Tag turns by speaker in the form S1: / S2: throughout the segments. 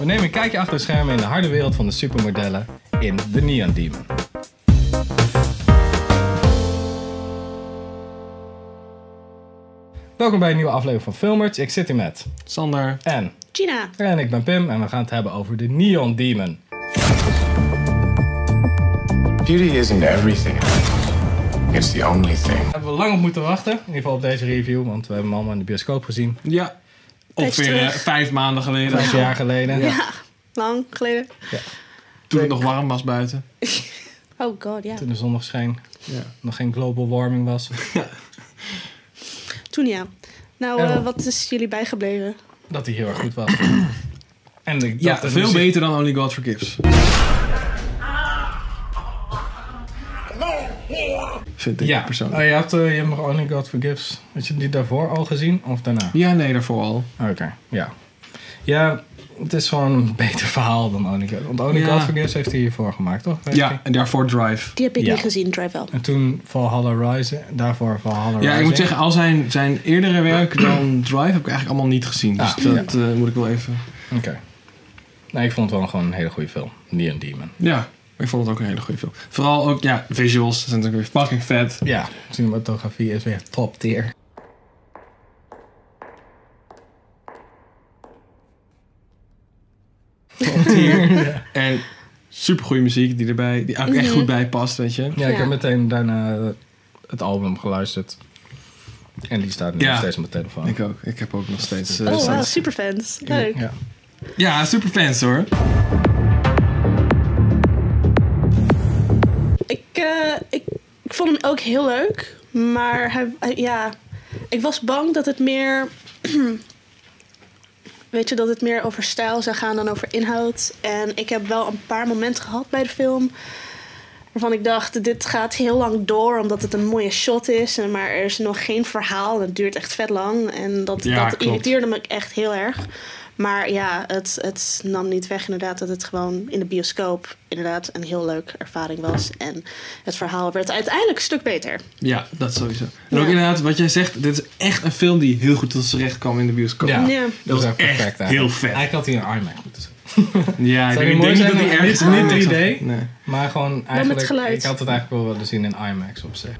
S1: We nemen een kijkje achter de schermen in de harde wereld van de supermodellen in The Neon Demon. Welkom bij een nieuwe aflevering van Filmers. Ik zit hier met
S2: Sander.
S1: en
S3: Gina.
S1: en ik ben Pim en we gaan het hebben over de Neon Demon.
S4: Beauty isn't everything. It's the only thing.
S1: Hebben we lang op moeten wachten, in ieder geval op deze review, want we hebben hem allemaal in de bioscoop gezien.
S2: Ja. Ongeveer eh,
S3: terug.
S2: vijf maanden geleden.
S1: Vijf jaar geleden.
S3: Ja. lang geleden.
S2: Toen het nog warm was buiten.
S3: Oh god, ja.
S1: Toen de zon nog scheen,
S2: Ja.
S1: nog geen global warming was.
S3: Toen ja. Nou,
S1: Ja.
S3: eh, wat is jullie bijgebleven?
S1: Dat hij heel erg goed was. En ik
S2: Ja,
S1: dacht, de
S2: veel
S1: muziek-
S2: beter dan Only God Forgives. Vind ik
S1: Ja,
S2: persoonlijk.
S1: Oh, je hebt eh, je hebt nog Only God Forgives. Had je die daarvoor al gezien of daarna? Oh,
S2: Ja, nee, daarvoor al.
S1: Oké, ja. Ja, het is gewoon een beter verhaal dan Only God. Want Only
S2: Ja.
S1: God Forgives heeft hij hiervoor gemaakt, toch? Weet je?
S2: Ja, en daarvoor Drive.
S3: Die heb ik
S1: Ja.
S3: niet gezien, Drive wel.
S1: En toen Valhalla Rising, daarvoor Valhalla Rising.
S2: Ja, ik moet zeggen, al zijn, zijn eerdere werk dan Drive heb ik eigenlijk allemaal niet gezien. Dus
S1: Ah,
S2: dat eh, moet ik wel even...
S1: Oké. Nee, ik vond het wel gewoon een hele goede film. Neon Demon.
S2: Ja, ik vond het ook een hele goede film. Vooral ook, ja, visuals zijn natuurlijk weer fucking vet.
S1: Ja, cinematografie is weer top tier. Top tier. ja.
S2: En supergoeie muziek die erbij, die ook echt goed bij past, weet je.
S1: Ja, ik
S3: Ja.
S1: heb meteen daarna het album geluisterd. En die staat nu
S2: Ja.
S1: nog steeds op mijn telefoon.
S2: Ik ook. Ik heb ook nog steeds... eh,
S3: Oh,
S2: staan-
S3: wow, superfans. Leuk.
S1: Ja.
S2: Ja, superfans hoor.
S3: Ik, eh, ik, ik vond hem ook heel leuk. Maar hij, hij- ja, ik was bang dat het meer... Weet je, dat het meer over stijl zou gaan dan over inhoud. En ik heb wel een paar momenten gehad bij de film... waarvan ik dacht, dit gaat heel lang door... omdat het een mooie shot is. en- Maar er is nog geen verhaal. en Het duurt echt vet lang. En dat,
S2: Ja,
S3: dat
S2: klopt.
S3: irriteerde me echt heel erg. Maar ja, het, het nam niet weg inderdaad dat het gewoon in de bioscoop inderdaad een heel leuke ervaring was. En het verhaal werd uiteindelijk een stuk beter.
S2: Ja, dat sowieso. En ook
S3: Ja.
S2: inderdaad, wat jij zegt, dit is echt een film die heel goed tot z'n recht kwam in de bioscoop.
S1: Ja,
S3: Ja.
S1: dat
S2: was
S1: is
S2: echt
S1: echt perfect. eigenlijk.
S2: heel vet.
S1: Eigenlijk had hij een iMac dus- moeten zijn.
S2: ja ik
S1: Zou die
S2: denk
S1: mooi
S2: niet
S1: zijn?
S2: dat die
S1: Dit
S2: ergens...
S1: is niet
S2: Nee.
S1: 3D.
S2: Nee.
S1: Maar gewoon eigenlijk,
S3: geluid.
S1: ik had het eigenlijk wel willen zien in IMAX op zich.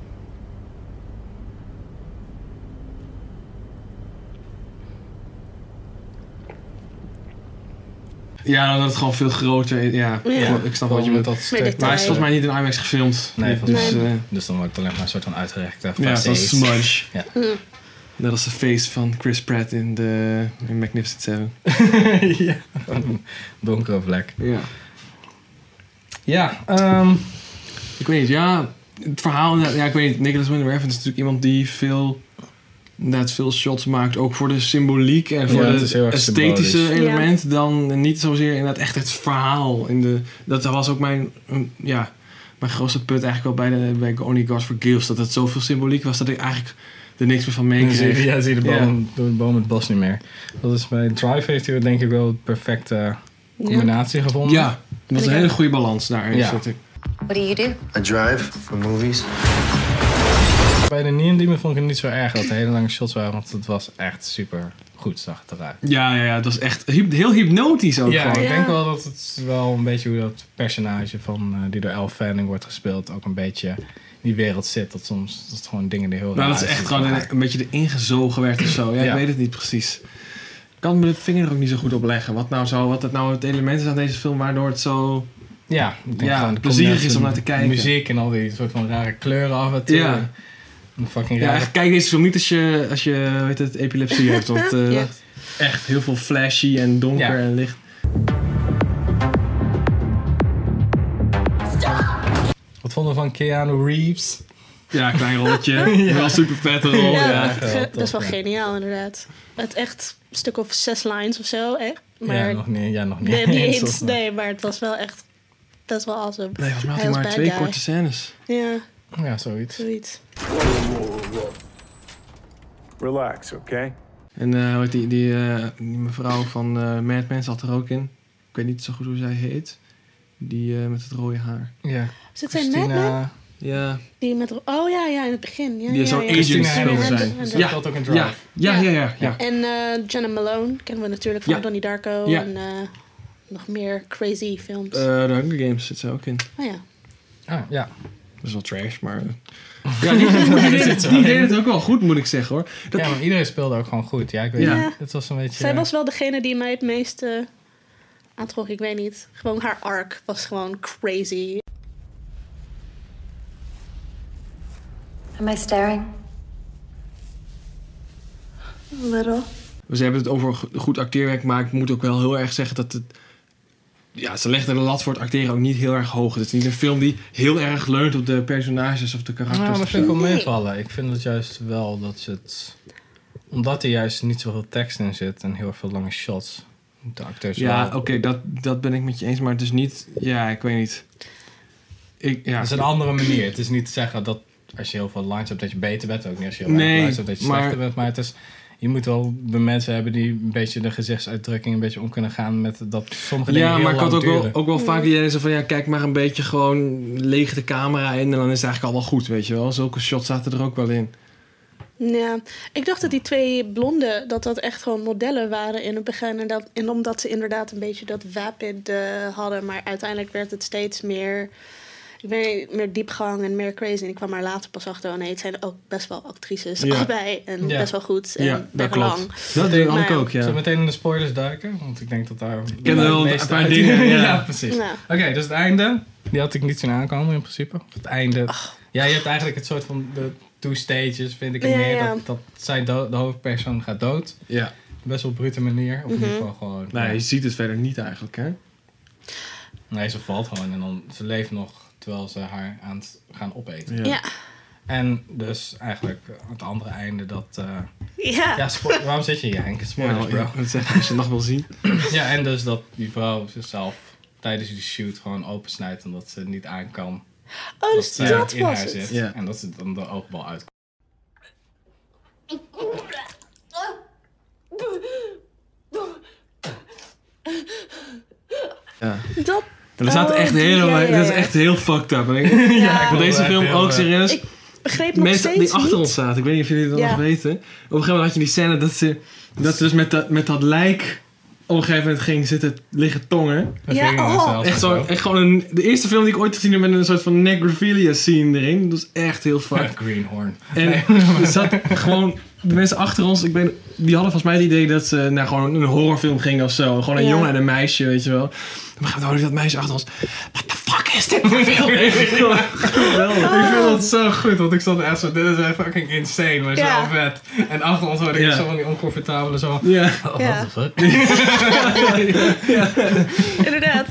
S2: Ja, dat het gewoon veel groter is. Ja,
S3: Ja.
S2: ik snap wat je
S1: met
S2: bedoelt.
S1: dat stuk.
S2: Maar hij is
S3: Nee.
S2: volgens mij niet in IMAX gefilmd.
S1: Nee, volgens
S2: dus,
S1: mij
S2: eh,
S1: Dus dan wordt het alleen maar een soort van uitgerekte
S2: ja, zo'n
S1: facees.
S2: smudge.
S1: Ja.
S3: Hm.
S2: Net als de face van Chris Pratt in, de, in Magnificent Seven.
S1: ja, een donkere vlek.
S2: Ja.
S1: Ja, ehm,
S2: Ik weet niet, ja, het verhaal, ja, ik weet niet, Nicholas Winter Refn is natuurlijk iemand die veel, inderdaad veel shots maakt, ook voor de symboliek en voor
S1: Ja, het is heel
S2: de
S1: erg
S2: esthetische
S1: symbolisch.
S2: element, dan niet zozeer inderdaad echt het verhaal. In de, dat was ook mijn, mm, ja, mijn grootste punt eigenlijk wel bij, de, bij Only God Forgives, dat het zoveel symboliek was dat ik eigenlijk er niks meer van mee
S1: dan zie je,
S2: kreeg.
S1: ja, zie je de
S2: Ja.
S1: boom, de boom het bos niet meer. Dat is bij Drive heeft hij denk ik wel de perfecte combinatie gevonden.
S2: Ja, dat was een hele goede balans daar.
S1: Ja.
S2: zat ik.
S5: What do you do?
S6: I drive for movies.
S1: Bij de Neon Demon vond ik het niet zo erg dat er hele lange shots waren, want het was echt super goed, zag het eruit.
S2: ja, ja, ja, dat was echt hyp- heel hypnotisch ook
S1: Ja,
S2: gewoon.
S1: ik
S3: Ja.
S1: denk wel dat het wel een beetje hoe dat personage van, eh, die door Elle Fanning wordt gespeeld ook een beetje in die wereld zit. Dat soms dat gewoon dingen die heel
S2: Nou,
S1: raar
S2: dat is echt
S1: uitzien.
S2: gewoon een, een beetje erin gezogen werd of zo. Ja,
S1: Ja.
S2: ik weet het niet precies. Ik kan me de vinger er ook niet zo goed op leggen. Wat nou zo, wat het nou het element is aan deze film waardoor het zo...
S1: Ja, ik denk
S2: Ja,
S1: gewoon de
S2: plezierig
S1: combinatie
S2: is om naar
S1: van
S2: te kijken.
S1: Muziek en al die soort van rare kleuren af en toe.
S2: Ja.
S1: En Een fucking
S2: Ja,
S1: rare...
S2: echt, kijk deze film niet als je, als je weet het, epilepsie hebt. Want eh,
S3: Ja.
S2: dat- echt heel veel flashy en donker
S1: Ja.
S2: en licht.
S1: Wat vonden we van Keanu Reeves?
S2: Ja, klein rolletje. Wel super vette rol. Ja.
S3: ja,
S1: ja,
S3: ge-
S1: wel
S3: dat is wel
S1: tof, ja.
S3: geniaal inderdaad. Het echt een stuk of zes lines of zo, echt. Maar
S1: ja, nog niet. Ja, nog niet.
S3: nee, niet
S1: Soms
S3: eens,
S1: nog.
S3: nee, maar het was wel echt best wel awesome.
S2: Nee, volgens mij had
S3: Hij
S2: hij
S3: was
S2: maar
S3: bad
S2: twee
S3: guy.
S2: korte scènes.
S3: Ja,
S1: Ja, zoiets.
S3: zoiets.
S7: Relax, okay?
S2: En eh, wat die, die, eh, die mevrouw van eh Mad Men zat er ook in. Ik weet niet zo goed hoe zij heet. Die eh, met het rode haar.
S1: Ja.
S3: Dus ik zei Mad Men?
S2: Ja,
S3: Die met... Oh ja, ja, in het begin. Ja,
S2: Die
S3: ja,
S2: zou
S3: ja.
S2: agent
S1: Christina
S2: speelde
S1: Hendricks.
S2: zijn.
S3: Ja.
S1: Ze
S2: Ja.
S1: speelt ook in Drive.
S2: Ja, ja, ja, ja. ja.
S3: En eh Jenna Malone kennen we natuurlijk van
S2: Ja.
S3: Donnie Darko.
S2: Ja.
S3: En, eh, nog meer crazy films?
S2: Eh, de Hunger Games zit ze ook in.
S3: oh ja.
S1: Ah, ja.
S2: Dat is wel trash, maar... Ja, die, die deed het, die deed het ook wel goed, moet ik zeggen, hoor. Dat,
S1: ja, maar iedereen speelde ook gewoon goed. Ja, ik weet
S2: Ja.
S1: niet. Het was een beetje...
S3: Zij was wel degene die mij het meest eh, aantrok, ik weet niet. Gewoon haar arc was gewoon crazy.
S5: Am I staring?
S3: Little.
S2: Ze hebben het over go- goed acteerwerk, maar ik moet ook wel heel erg zeggen dat het... Ja, ze legden de lat voor het acteren ook niet heel erg hoog. Het is niet een film die heel erg leunt op de personages of de karakters.
S1: Nou, dat
S2: of
S1: vind ik
S2: zo.
S1: wel meevallen. Ik vind het juist wel dat ze het... Omdat er juist niet zoveel tekst in zit en heel erg veel lange shots. De acteurs
S2: Ja,
S1: wel-
S2: oké, dat, dat ben ik met je eens, maar het is niet... Ja, ik weet niet. Ik, ja.
S1: Het is een andere manier. Het is niet te zeggen dat als je heel veel lines hebt, dat je beter bent. Ook niet als je heel
S2: Nee,
S1: weinig lines hebt, dat je
S2: maar-
S1: slechter bent. Maar het is, je moet wel de mensen hebben die een beetje de gezichtsuitdrukking een beetje om kunnen gaan met dat sommige dingen
S2: Ja,
S1: heel
S2: maar ik
S1: lang
S2: had ook wel,
S1: duren.
S2: ook wel vaak die idee zo van... Ja, kijk maar een beetje gewoon leeg de camera in en dan is het eigenlijk al wel goed, weet je wel. Zulke shots zaten er ook wel in.
S3: Ja, ik dacht dat die twee blonden, dat dat echt gewoon modellen waren in het begin. En, dat, en omdat ze inderdaad een beetje dat vapid eh, hadden. Maar uiteindelijk werd het steeds meer, ik weet, niet, meer diepgang en meer crazy. En ik kwam maar later pas achter, oh nee, het zijn ook best wel actrices
S2: Ja.
S3: allebei. En
S1: Ja.
S3: best wel goed en
S2: ja, dat
S3: best
S2: klopt.
S3: lang.
S2: Dat denk ik
S3: Maar-
S2: ook, ja.
S1: Zullen we meteen in de spoilers duiken? Want ik denk dat daar... Ik
S2: ken er wel een paar dingen, ja.
S1: Ja, precies.
S3: Ja.
S1: Oké, dus het einde. Die had ik niet zien aankomen in principe. Het einde. Ja, je hebt eigenlijk het soort van de two stages, vind ik het
S3: Ja,
S1: meer.
S3: ja.
S1: Dat, dat zij do- de hoofdpersoon gaat dood.
S2: Ja.
S1: Best wel op brute manier. Of
S3: Mhm.
S1: in ieder geval gewoon...
S2: Nee, je ziet het verder niet eigenlijk, hè.
S1: Nee, ze valt gewoon en dan ze leeft nog terwijl ze haar aan het gaan opeten.
S3: Ja,
S1: En dus eigenlijk eh, het andere einde dat... eh,
S3: ja.
S1: ja, spo- waarom zit je hier Henk? Spoilers,
S2: Ja,
S1: bro.
S2: dat zeg, als je het nog wil zien.
S1: Ja, en dus dat die vrouw zichzelf tijdens die shoot gewoon opensnijdt omdat ze niet aan kan.
S3: Oh, dus
S1: zij
S3: dat
S1: eh, in
S3: was
S1: haar
S3: het.
S1: zit.
S2: Ja.
S1: En dat ze dan de oogbal uit.
S2: Ja.
S3: Dat,
S2: En er zaten
S3: Oh,
S2: echt
S3: die-
S2: hele...
S3: ja, ja,
S2: Dat is
S3: ja.
S2: echt heel fucked up. En ik-
S3: ja,
S2: Want deze film
S1: Heel,
S2: ook
S1: eh,
S2: serieus...
S3: ik begreep nog
S2: Mensen
S3: steeds
S2: die achter
S3: niet.
S2: ons zaten, ik weet niet of jullie dat
S3: Ja.
S2: nog weten. Op een gegeven moment had je die scène dat ze, dat ze dus met dat, met dat lijk op een gegeven moment ging zitten liggen tongen.
S1: Haar
S3: Ja,
S1: vinger in
S3: oh.
S1: zelfs en
S2: Echt, zo, echt gewoon een, de eerste film die ik ooit gezien heb met een soort van necrophilia scene erin. Dat is echt heel
S1: Ja,
S2: fuck.
S1: Greenhorn.
S2: En er zat gewoon, de mensen achter ons, ik ben, die hadden volgens mij het idee dat ze naar gewoon een horrorfilm gingen of zo. Gewoon een
S3: Ja.
S2: jongen en een meisje, weet je wel. Dan gaat hoorde ik dat meisje achter ons. What the fuck is dit voor film? Geweldig.
S1: Ik vind dat zo goed, want ik zat echt zo, dit is echt fucking insane, maar
S3: Ja.
S1: zo vet. En achter ons hoorde ik
S2: Ja.
S1: zo van die oncomfortabele zo.
S2: Ja.
S1: Oh,
S3: Ja.
S1: what the fuck?
S3: Inderdaad.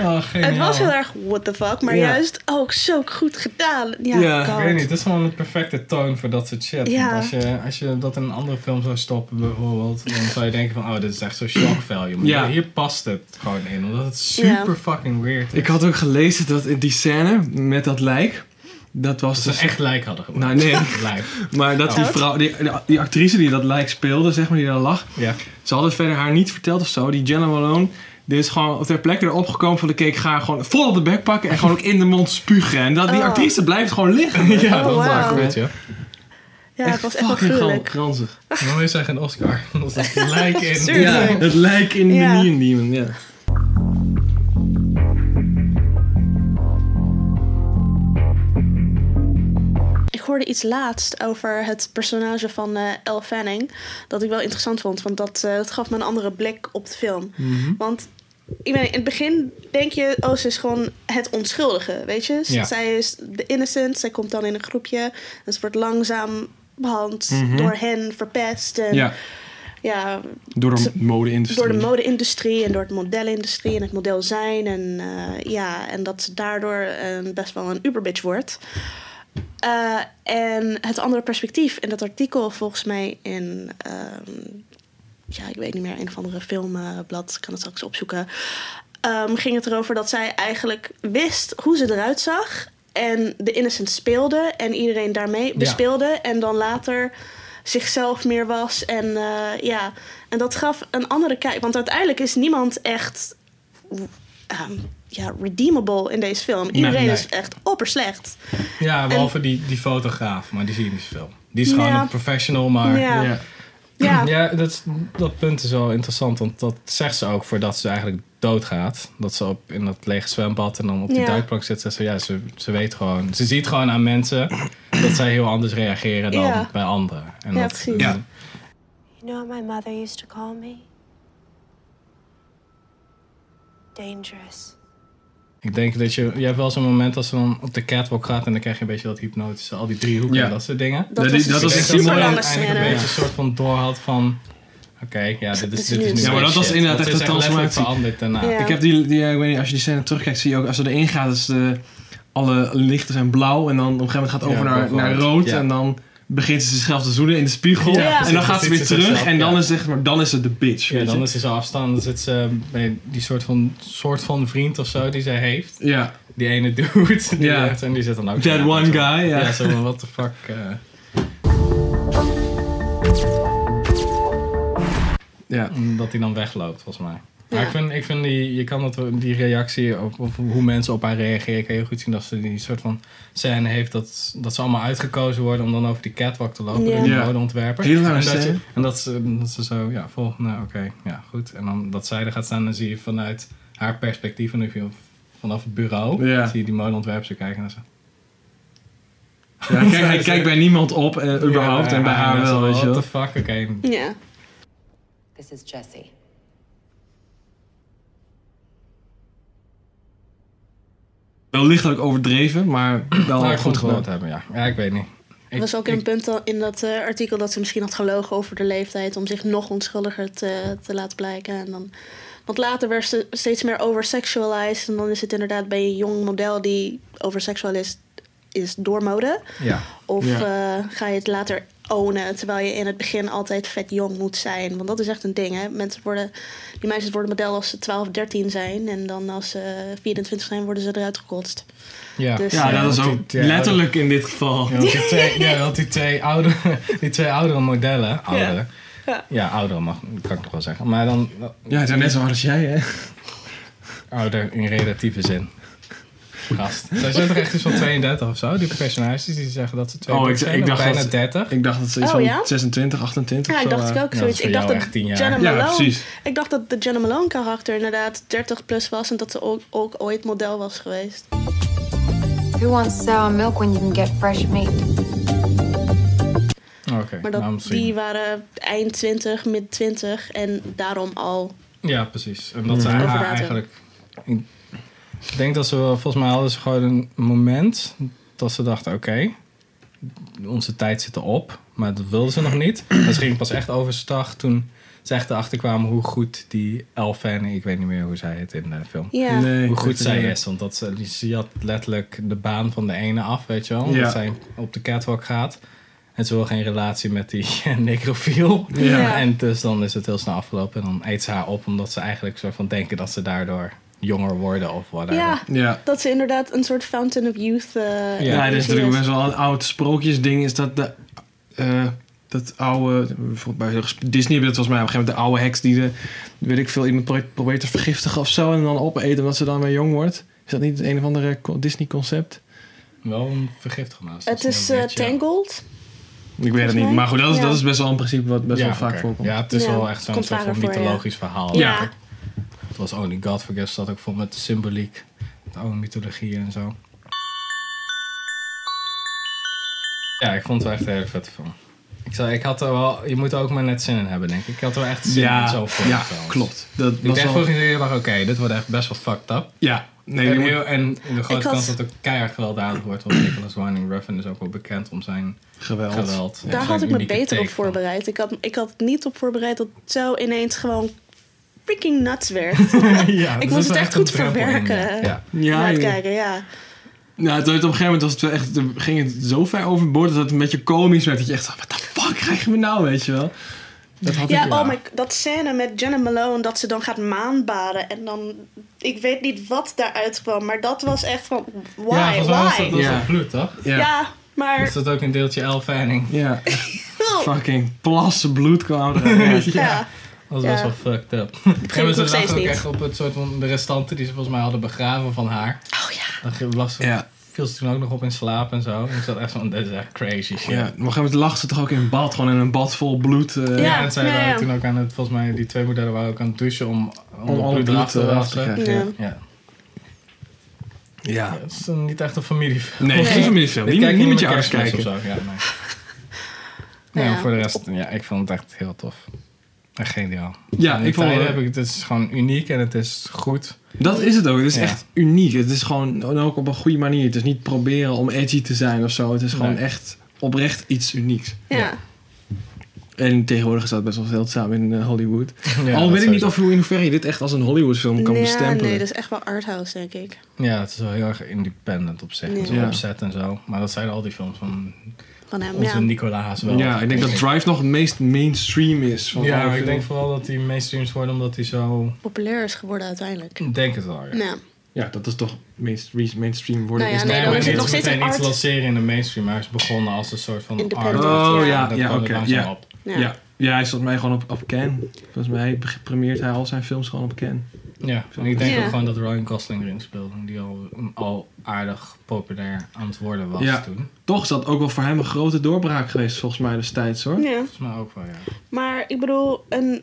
S1: Oh,
S3: Het
S1: geniaal.
S3: was heel erg what the fuck, maar
S2: Ja.
S3: juist ook zo goed gedaan. Ja,
S2: Ja,
S1: Ik weet niet, het is gewoon een perfecte toon voor dat soort shit.
S3: Ja.
S1: Want als je, als je dat in een andere film zou stoppen bijvoorbeeld, dan zou je denken van, oh, dit is echt zo shock value. Maar
S2: Ja.
S1: hier past het gewoon in, omdat het super fucking weird is.
S2: Ik had ook gelezen dat in die scène met dat lijk, dat was
S1: Dat
S2: dus
S1: ze echt lijk hadden gemaakt.
S2: Nou nee,
S1: Lijk.
S2: maar dat die
S3: Oh.
S2: vrouw, die, die actrice die dat lijk speelde, zeg maar, die daar lag,
S1: Ja.
S2: ze hadden verder haar niet verteld of zo. Die Jenna Malone, die is gewoon ter plekke erop gekomen van de cake, ga haar gewoon vol op de bek pakken en gewoon ook in de mond spugen. En dat, die
S3: Oh.
S2: actrice blijft gewoon liggen.
S1: Ja,
S3: Oh,
S1: dat
S3: wauw.
S1: was weet je.
S3: ja het was echt wel
S2: fucking gewoon
S3: gruwelijk.
S2: kranzig.
S1: Dan is hij geen Oscar. Dat is echt lijk in.
S3: Absurd.
S2: Ja, het lijk in
S3: Oh, Ja.
S2: de Neon Demon, ja.
S3: Ik hoorde iets laatst over het personage van eh Elle Fanning. Dat ik wel interessant vond, want dat, eh, dat gaf me een andere blik op de film. Want ik weet, niet, in het begin denk je, oh, ze is gewoon het onschuldige, weet je? Z-
S1: Ja.
S3: Zij is de innocent, zij komt dan in een groepje. En ze wordt langzaam behand door hen verpest. En,
S2: Ja,
S3: ja,
S2: door de
S3: Ze-
S2: mode-industrie.
S3: Door de mode-industrie en door het modellenindustrie en het model zijn. En, eh, ja, en dat ze daardoor een, best wel een uberbitch wordt. Eh, en het andere perspectief in dat artikel, volgens mij in... ehm, ja, ik weet niet meer, een of andere filmblad, ik kan het straks opzoeken. ehm, ging het erover dat zij eigenlijk wist hoe ze eruit zag. En de Innocent speelde en iedereen daarmee bespeelde. En dan later zichzelf meer was. En eh, ja, en dat gaf een andere kijk. Want uiteindelijk is niemand echt ehm, ja, redeemable in deze film. Iedereen
S1: nee.
S3: is echt opperslecht.
S1: Ja, behalve die, die fotograaf, maar die zie je niet zoveel. Die is gewoon
S3: Ja.
S1: een professional, maar...
S3: Ja.
S2: Ja.
S3: Ja.
S1: Ja, dat, is- dat punt is wel interessant, want dat zegt ze ook voordat ze eigenlijk doodgaat. Dat ze op, in dat lege zwembad en dan op die
S3: Ja.
S1: duikplank zit. Ze, ja, ze, ze weet gewoon, ze ziet gewoon aan mensen dat zij heel anders reageren dan
S3: Ja.
S1: bij anderen. En
S3: Ja,
S1: dat,
S3: precies.
S2: Ja.
S8: You know what my mother used to call me? Dangerous.
S1: Ik denk dat je, je hebt wel zo'n moment als ze dan op de catwalk gaat en dan krijg je een beetje dat hypnotische, al die driehoeken
S2: Ja.
S1: en dat soort dingen.
S2: Nee,
S3: Dat was dus
S2: die-
S1: Ik
S2: dat was
S1: denk
S2: echt
S1: dat
S2: een
S1: ze
S2: mooie-
S1: dan
S3: lange
S1: uiteindelijk
S3: scène.
S1: een beetje een soort van doorhad van, oké, ja, dit is,
S3: is
S1: dit is
S3: nu.
S1: nu
S3: Ja,
S2: maar dat was
S1: shit.
S2: inderdaad
S1: Want
S2: echt
S1: ze
S2: een
S1: is letterlijk
S2: transformatie.
S1: veranderd daarna.
S3: Ja.
S2: Ik heb die, die, eh, ik weet niet, als je die scène terugkijkt, zie je ook als ze erin gaat, is de, alle lichten zijn blauw. En dan op een gegeven moment gaat het over
S1: Ja,
S2: naar,
S1: rood.
S2: naar rood.
S1: Ja.
S2: En dan begint ze zichzelf te zoenen in de spiegel.
S3: Ja,
S2: en dan
S1: precies,
S2: gaat ze
S1: dan
S2: weer
S1: ziet ze
S2: terug.
S1: zichzelf,
S2: En dan
S1: ja.
S2: is, zeg maar, dan is het de bitch.
S1: Ja,
S2: weet
S1: dan
S2: je?
S1: is ze zo afstand. Dan zit ze bij die soort van, soort van vriend of zo die zij heeft.
S2: ja.
S1: Die ene dude. Die
S2: Ja.
S1: heeft- en die zit dan ook.
S2: That
S1: zo-
S2: one
S1: zo-
S2: guy, ja.
S1: Ja, zo van, what the fuck. eh.
S2: ja.
S1: dat hij dan wegloopt, volgens mij. Maar
S3: Ja.
S1: ik vind, ik vind die, je kan dat, die reactie op, of hoe mensen op haar reageren, kan je heel goed zien dat ze die soort van scène heeft dat, dat ze allemaal uitgekozen worden om dan over die catwalk te lopen
S3: Ja.
S1: door die
S2: Ja.
S1: modeontwerper.
S2: Heel lange
S1: en dat,
S2: scène.
S1: je, en dat ze, dat ze zo, ja, volgende, oké, ja, goed. En dan dat zij er gaat staan, dan zie je vanuit haar perspectief, en dan zie je vanaf het bureau,
S2: Ja.
S1: zie je die modeontwerper zo kijken en zo.
S2: Ja, hij kijkt- hij kijkt bij niemand op, eh, überhaupt. en bij haar wel, weet je
S1: What
S2: wel.
S1: the fuck, oké.
S3: Ja.
S5: This is Jesse.
S2: Wel lichtelijk overdreven, maar wel
S1: Nou, ik
S2: goed
S1: goed
S2: gedaan.
S1: gehoord hebben, ja. Ja, ik weet niet. Ik,
S3: Er was ook
S1: ik-
S3: een punt al- in dat eh, artikel dat ze misschien had gelogen over de leeftijd om zich nog onschuldiger te, te laten blijken. En dan, want later werd ze steeds meer oversexualized. En dan is het inderdaad bij een jong model die oversexual is, is door mode.
S1: Ja.
S3: Of
S2: Ja.
S3: eh, ga je het later ownen, terwijl je in het begin altijd vet jong moet zijn. Want dat is echt een ding, hè. Mensen worden, die meisjes worden model als ze 12, 13 zijn. En dan als ze 24 zijn, worden ze eruit gekotst.
S1: Ja.
S3: Dus,
S2: Ja, dat is
S1: Ja,
S2: ook
S1: want die- ja,
S2: letterlijk in dit geval.
S1: Ja, want die twee, ja, want die twee, oude, die twee oudere modellen. Oudere. Ja,
S3: Ja.
S1: oudere mag, kan ik nog wel zeggen. Maar dan
S2: Ja, het zijn net zo hard als jij, hè?
S1: ouder in relatieve zin. Gast. Zij zijn toch echt iets van 32 of zo? Die personages die zeggen dat ze
S2: Oh,
S1: 32
S2: ik-
S1: zijn.
S2: ik
S1: of
S2: dacht
S1: bijna
S2: dat-
S1: 30.
S2: Ik dacht dat ze iets
S3: Oh,
S2: van
S3: ja?
S2: 26, 28
S3: Ja,
S2: of
S3: ik
S2: zo
S3: dacht ik
S2: waren.
S3: ook
S1: eh, Ja, dat is
S3: zoiets.
S1: voor
S3: Ik dacht
S1: jou
S3: dat
S1: echt 10 jaar.
S3: Jenna
S2: Ja,
S3: Malone...
S2: precies.
S3: Ik dacht dat de Jenna Malone karakter inderdaad 30 plus was... en dat ze ook, ook ooit model was geweest.
S5: Who wants sour milk when you can get fresh meat?
S1: Oké,
S3: Maar
S1: nou,
S3: dat,
S1: misschien.
S3: die waren eind 20, mid 20 en daarom al...
S1: Ja, precies. En dat ze haar
S3: Overdatum.
S1: eigenlijk... Ik denk dat ze, wel- volgens mij hadden ze gewoon een moment dat ze dachten, oké, onze tijd zit erop. Maar dat wilden ze nog niet. En ze gingen pas echt overstag toen ze echt erachter kwamen hoe goed die Elfane, ik weet niet meer hoe zij het in de film...
S3: Ja,
S2: Nee,
S1: Hoe
S2: ik
S1: goed
S2: weet het
S1: zij
S2: niet.
S1: is, want dat, ze ze had letterlijk de baan van de ene af, weet je wel.
S2: Ja.
S1: Dat zij op de catwalk gaat. En ze wil geen relatie met die necrofiel.
S3: Ja.
S1: En dus dan is het heel snel afgelopen. En dan eet ze haar op omdat ze eigenlijk soort van denken dat ze daardoor jonger worden of whatever.
S3: ja,
S2: Ja.
S3: dat ze inderdaad een soort fountain of youth... eh,
S1: Ja,
S2: Ja,
S3: energie
S2: dit is natuurlijk best wel een oud sprookjesding. Is dat de, eh, dat oude... bijvoorbeeld Bij Disney hebben dat volgens mij op een gegeven moment de oude heks die de... Weet ik veel, iemand pro- probeert te vergiftigen of zo. En dan opeten omdat ze dan weer jong wordt. Is dat niet het een of andere co- Disney concept?
S1: Wel een vergiftige naast.
S3: Het is eh, Tangled.
S2: Ik weet het niet.
S3: mij.
S2: Maar goed, dat is,
S3: Ja.
S2: dat is best wel een principe wat best
S1: ja,
S2: wel vaak
S1: oké.
S2: voorkomt.
S1: Ja, het is
S3: Ja,
S1: wel echt zo'n
S3: komt
S1: soort van
S3: vaker voor, ja.
S1: mythologisch verhaal.
S3: Ja.
S2: Ja.
S1: Het was Only God Forgives dat ook vol met de symboliek. Met oude mythologieën en zo. Ja, ik vond het wel echt een hele vette film. Ik, zou, ik had er wel, je moet er ook maar net zin in hebben, denk ik. Ik had er wel echt zin in
S2: Ja,
S1: zo'n film.
S2: ja
S1: trouwens.
S2: klopt. Dat
S1: Ik
S2: was
S1: dacht
S2: wel...
S1: vorige keer, ik dacht, oké, dit wordt echt best wel fucked up.
S2: Ja. Nee,
S1: en,
S2: die moet-
S1: heel- en de grote
S3: Ik had-
S1: kans dat het keihard gewelddadig wordt. Want Nicholas Winding Refn is ook wel bekend om zijn
S2: geweld.
S1: geweld. en
S3: Daar
S1: zijn
S3: had ik me
S1: unieke
S3: beter op
S1: take van.
S3: voorbereid. Ik had, ik had niet op voorbereid dat het zo ineens gewoon freaking nuts werd.
S1: ja, dus dat
S3: moest
S1: is
S3: het
S1: wel
S3: echt goed
S1: een drempel in, ja. Ja.
S3: verwerken. Ja,
S2: Ja, ja.
S3: Uitkijken, ja.
S2: Nou, toen het op een gegeven moment was het wel echt, toen ging het zo ver overboord dat het een beetje komisch werd. Dat je echt dacht, wat de fuck krijgen we nou, weet je wel? Dat had
S3: Ja,
S2: ik
S3: oh my, dat scène met Jenna Malone dat ze dan gaat maanbaden en dan... Ik weet niet wat daaruit kwam, maar dat was echt van... Why,
S1: Ja, volgens mij was dat,
S3: why?
S1: dat is
S2: Ja.
S1: wel bloed, toch?
S2: Ja, ja.
S3: Ja, maar...
S1: Is dat ook een deeltje L Fanning?
S2: echt fucking plassen bloed kwam eruit. Ja.
S3: Oh. Ja,
S1: Dat is
S3: Ja.
S1: best wel fucked up.
S3: het
S1: En
S3: nog
S1: ze
S3: steeds
S1: lachen ook
S3: niet.
S1: echt op het soort van de restanten die ze volgens mij hadden begraven van haar.
S3: Oh ja.
S1: Dan was ze
S2: Ja.
S1: viel ze toen ook nog op in slaap en zo. Ik zat echt van, dit is echt crazy shit.
S2: Ja, op een gegeven moment lag ze toch ook in bad, gewoon in een bad vol bloed. eh,
S3: Ja,
S1: en zij
S3: ja,
S1: waren
S3: ja.
S1: toen ook aan het, volgens mij, die twee modellen waren ook aan het douchen om, om,
S2: Om
S1: het
S2: alle
S1: bloed
S2: bloed
S1: eraf te
S2: eraf te
S1: wassen.
S2: krijgen.
S3: Ja.
S2: Ja.
S1: Ja.
S2: Ja.
S1: Het is een- niet echt een familiefilm.
S2: Nee, geen familiefilm.
S1: Dit
S2: Niet,
S1: kijk
S2: niet
S1: je
S2: met je
S1: met
S2: ouders
S1: kerstmis
S2: kijken.
S1: Of zo. Ja, nee. Ja,
S3: Ja.
S1: maar Nou, voor de rest, ja, ik vond het echt heel tof. Echt geniaal.
S2: Ja,
S1: En die
S2: ik vond
S1: tijden
S2: het-
S1: heb ik, het is gewoon uniek en het is goed.
S2: Dat is het ook. Het is
S1: Ja.
S2: echt uniek. Het is gewoon en ook op een goede manier. Het is niet proberen om edgy te zijn of zo. Het is gewoon
S1: Nee.
S2: echt oprecht iets unieks.
S3: Ja.
S2: En tegenwoordig is dat best wel zeldzaam in eh, Hollywood.
S1: Ja, dat
S2: Al weet ik niet
S1: sowieso.
S2: of hoe in hoeverre je dit echt als een Hollywood film kan
S3: Ja,
S2: bestempelen.
S3: nee, dat is echt wel arthouse, denk ik.
S1: Ja, het is wel heel erg independent op zich.
S3: Ja.
S1: Met zo'n
S2: Ja.
S1: opzet en zo. Maar dat zijn al die films van
S3: Van hem,
S1: onze
S3: ja.
S1: Nicolaas wel.
S2: ja, ik denk dat Drive nog het meest mainstream is. Van alle
S1: Ja, maar ik
S2: films.
S1: denk vooral dat die mainstreams worden omdat die zo...
S3: Populair is geworden uiteindelijk.
S1: Ik Denk het wel, ja.
S3: Nou,
S2: ja, dat is toch mainstream, mainstream worden.
S3: Nou ja,
S2: is
S3: nee,
S1: Nee,
S3: dan
S1: maar
S3: is het
S1: niet
S3: nog steeds
S1: meteen
S3: een
S1: iets
S3: art-
S1: lanceren in de mainstream. Maar hij is begonnen als een soort van art.
S3: Independent.
S2: Oh
S3: Ja,
S2: ja,
S1: dat
S2: ja,
S1: kwam er
S2: oké.
S1: langzaam
S2: ja.
S1: op.
S3: ja.
S2: Ja. ja, hij zat mij gewoon op, op Ken. Volgens mij premieert hij al zijn films gewoon op Ken.
S1: Ja, en ik denk
S3: Ja.
S1: ook gewoon dat Ryan Gosling erin speelde. Die al, mm, al aardig populair aan het worden was
S2: Ja.
S1: toen.
S2: Toch is dat ook wel voor hem een grote doorbraak geweest, volgens mij destijds hoor.
S3: ja.
S1: Volgens mij ook wel, ja.
S3: Maar ik bedoel, een,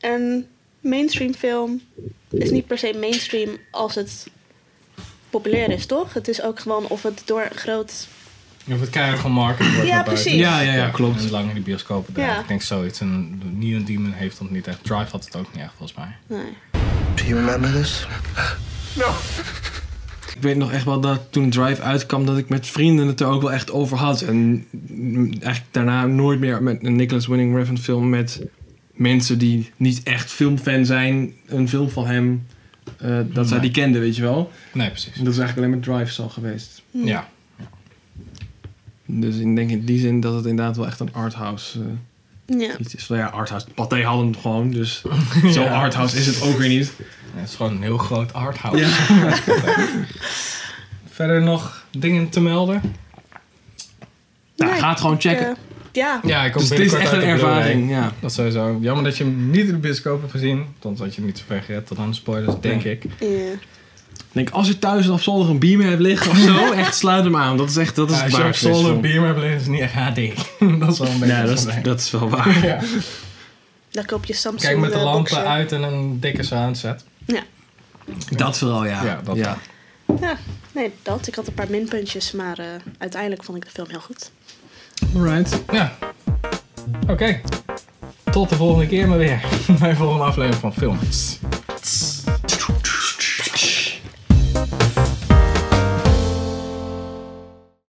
S3: een mainstream film is niet per se mainstream als het populair is, toch? Het is ook gewoon of het door een groot...
S1: Of het keihard gemarket wordt.
S3: Ja,
S1: naar buiten.
S3: precies.
S2: Ja, ja, ja, klopt.
S1: En lang in die bioscopen daar.
S3: Ja.
S1: Ik denk zoiets. En Neon Demon heeft dat niet echt. Drive had het ook niet echt, volgens mij.
S3: Nee.
S6: Do you remember this?
S2: Ik weet nog echt wel dat toen Drive uitkwam, dat ik met vrienden het er ook wel echt over had. En mm, eigenlijk daarna nooit meer met een Nicholas Winning Refn film met mensen die niet echt filmfan zijn, een film van hem, eh, dat zij die kenden, weet je wel.
S1: Nee, precies.
S2: En dat is eigenlijk alleen met Drive zo geweest.
S1: Ja.
S2: Dus ik denk in die zin dat het inderdaad wel echt een arthouse eh,
S3: Ja.
S2: iets is. Nou ja, arthouse. Pathé hadden hem gewoon, dus zo arthouse is het ook weer niet.
S1: Ja, Het is gewoon een heel groot arthouse. Verder nog dingen te melden?
S2: Nou,
S3: Nee,
S2: ga het gewoon
S3: ik,
S2: checken.
S3: eh, ja.
S1: Ja, ik kom
S2: dus het is
S1: binnenkort
S2: echt
S1: uit
S2: een
S1: de Blu-ray.
S2: ervaring, ja.
S1: Dat sowieso. Jammer dat je hem niet in de bioscoop hebt gezien. Want had je hem niet zo ver gered tot aan de spoilers, denk ik.
S3: Ja.
S2: Ik Denk, als je thuis op zolder een beamer hebt liggen of zo, echt sluit hem aan. Dat is echt, dat is
S1: Ja,
S2: het
S1: als je op
S2: waard.
S1: zolder een beamer hebt liggen, is het niet echt HD. dat is wel een beetje
S2: Ja,
S1: een
S2: dat
S1: probleem.
S2: is, dat is wel waar.
S1: Ja.
S3: Dan koop je Samsung
S1: Kijk, met de
S3: eh,
S1: lampen
S3: boxen.
S1: uit en een dikke soundset.
S3: Ja.
S2: Dat vooral, ja.
S1: Ja, dat wel.
S3: ja. Nee, dat. Ik had een paar minpuntjes, maar eh, uiteindelijk vond ik de film heel goed.
S2: Alright.
S1: Ja. Oké. Tot de volgende keer maar weer. Bij de volgende aflevering van Films.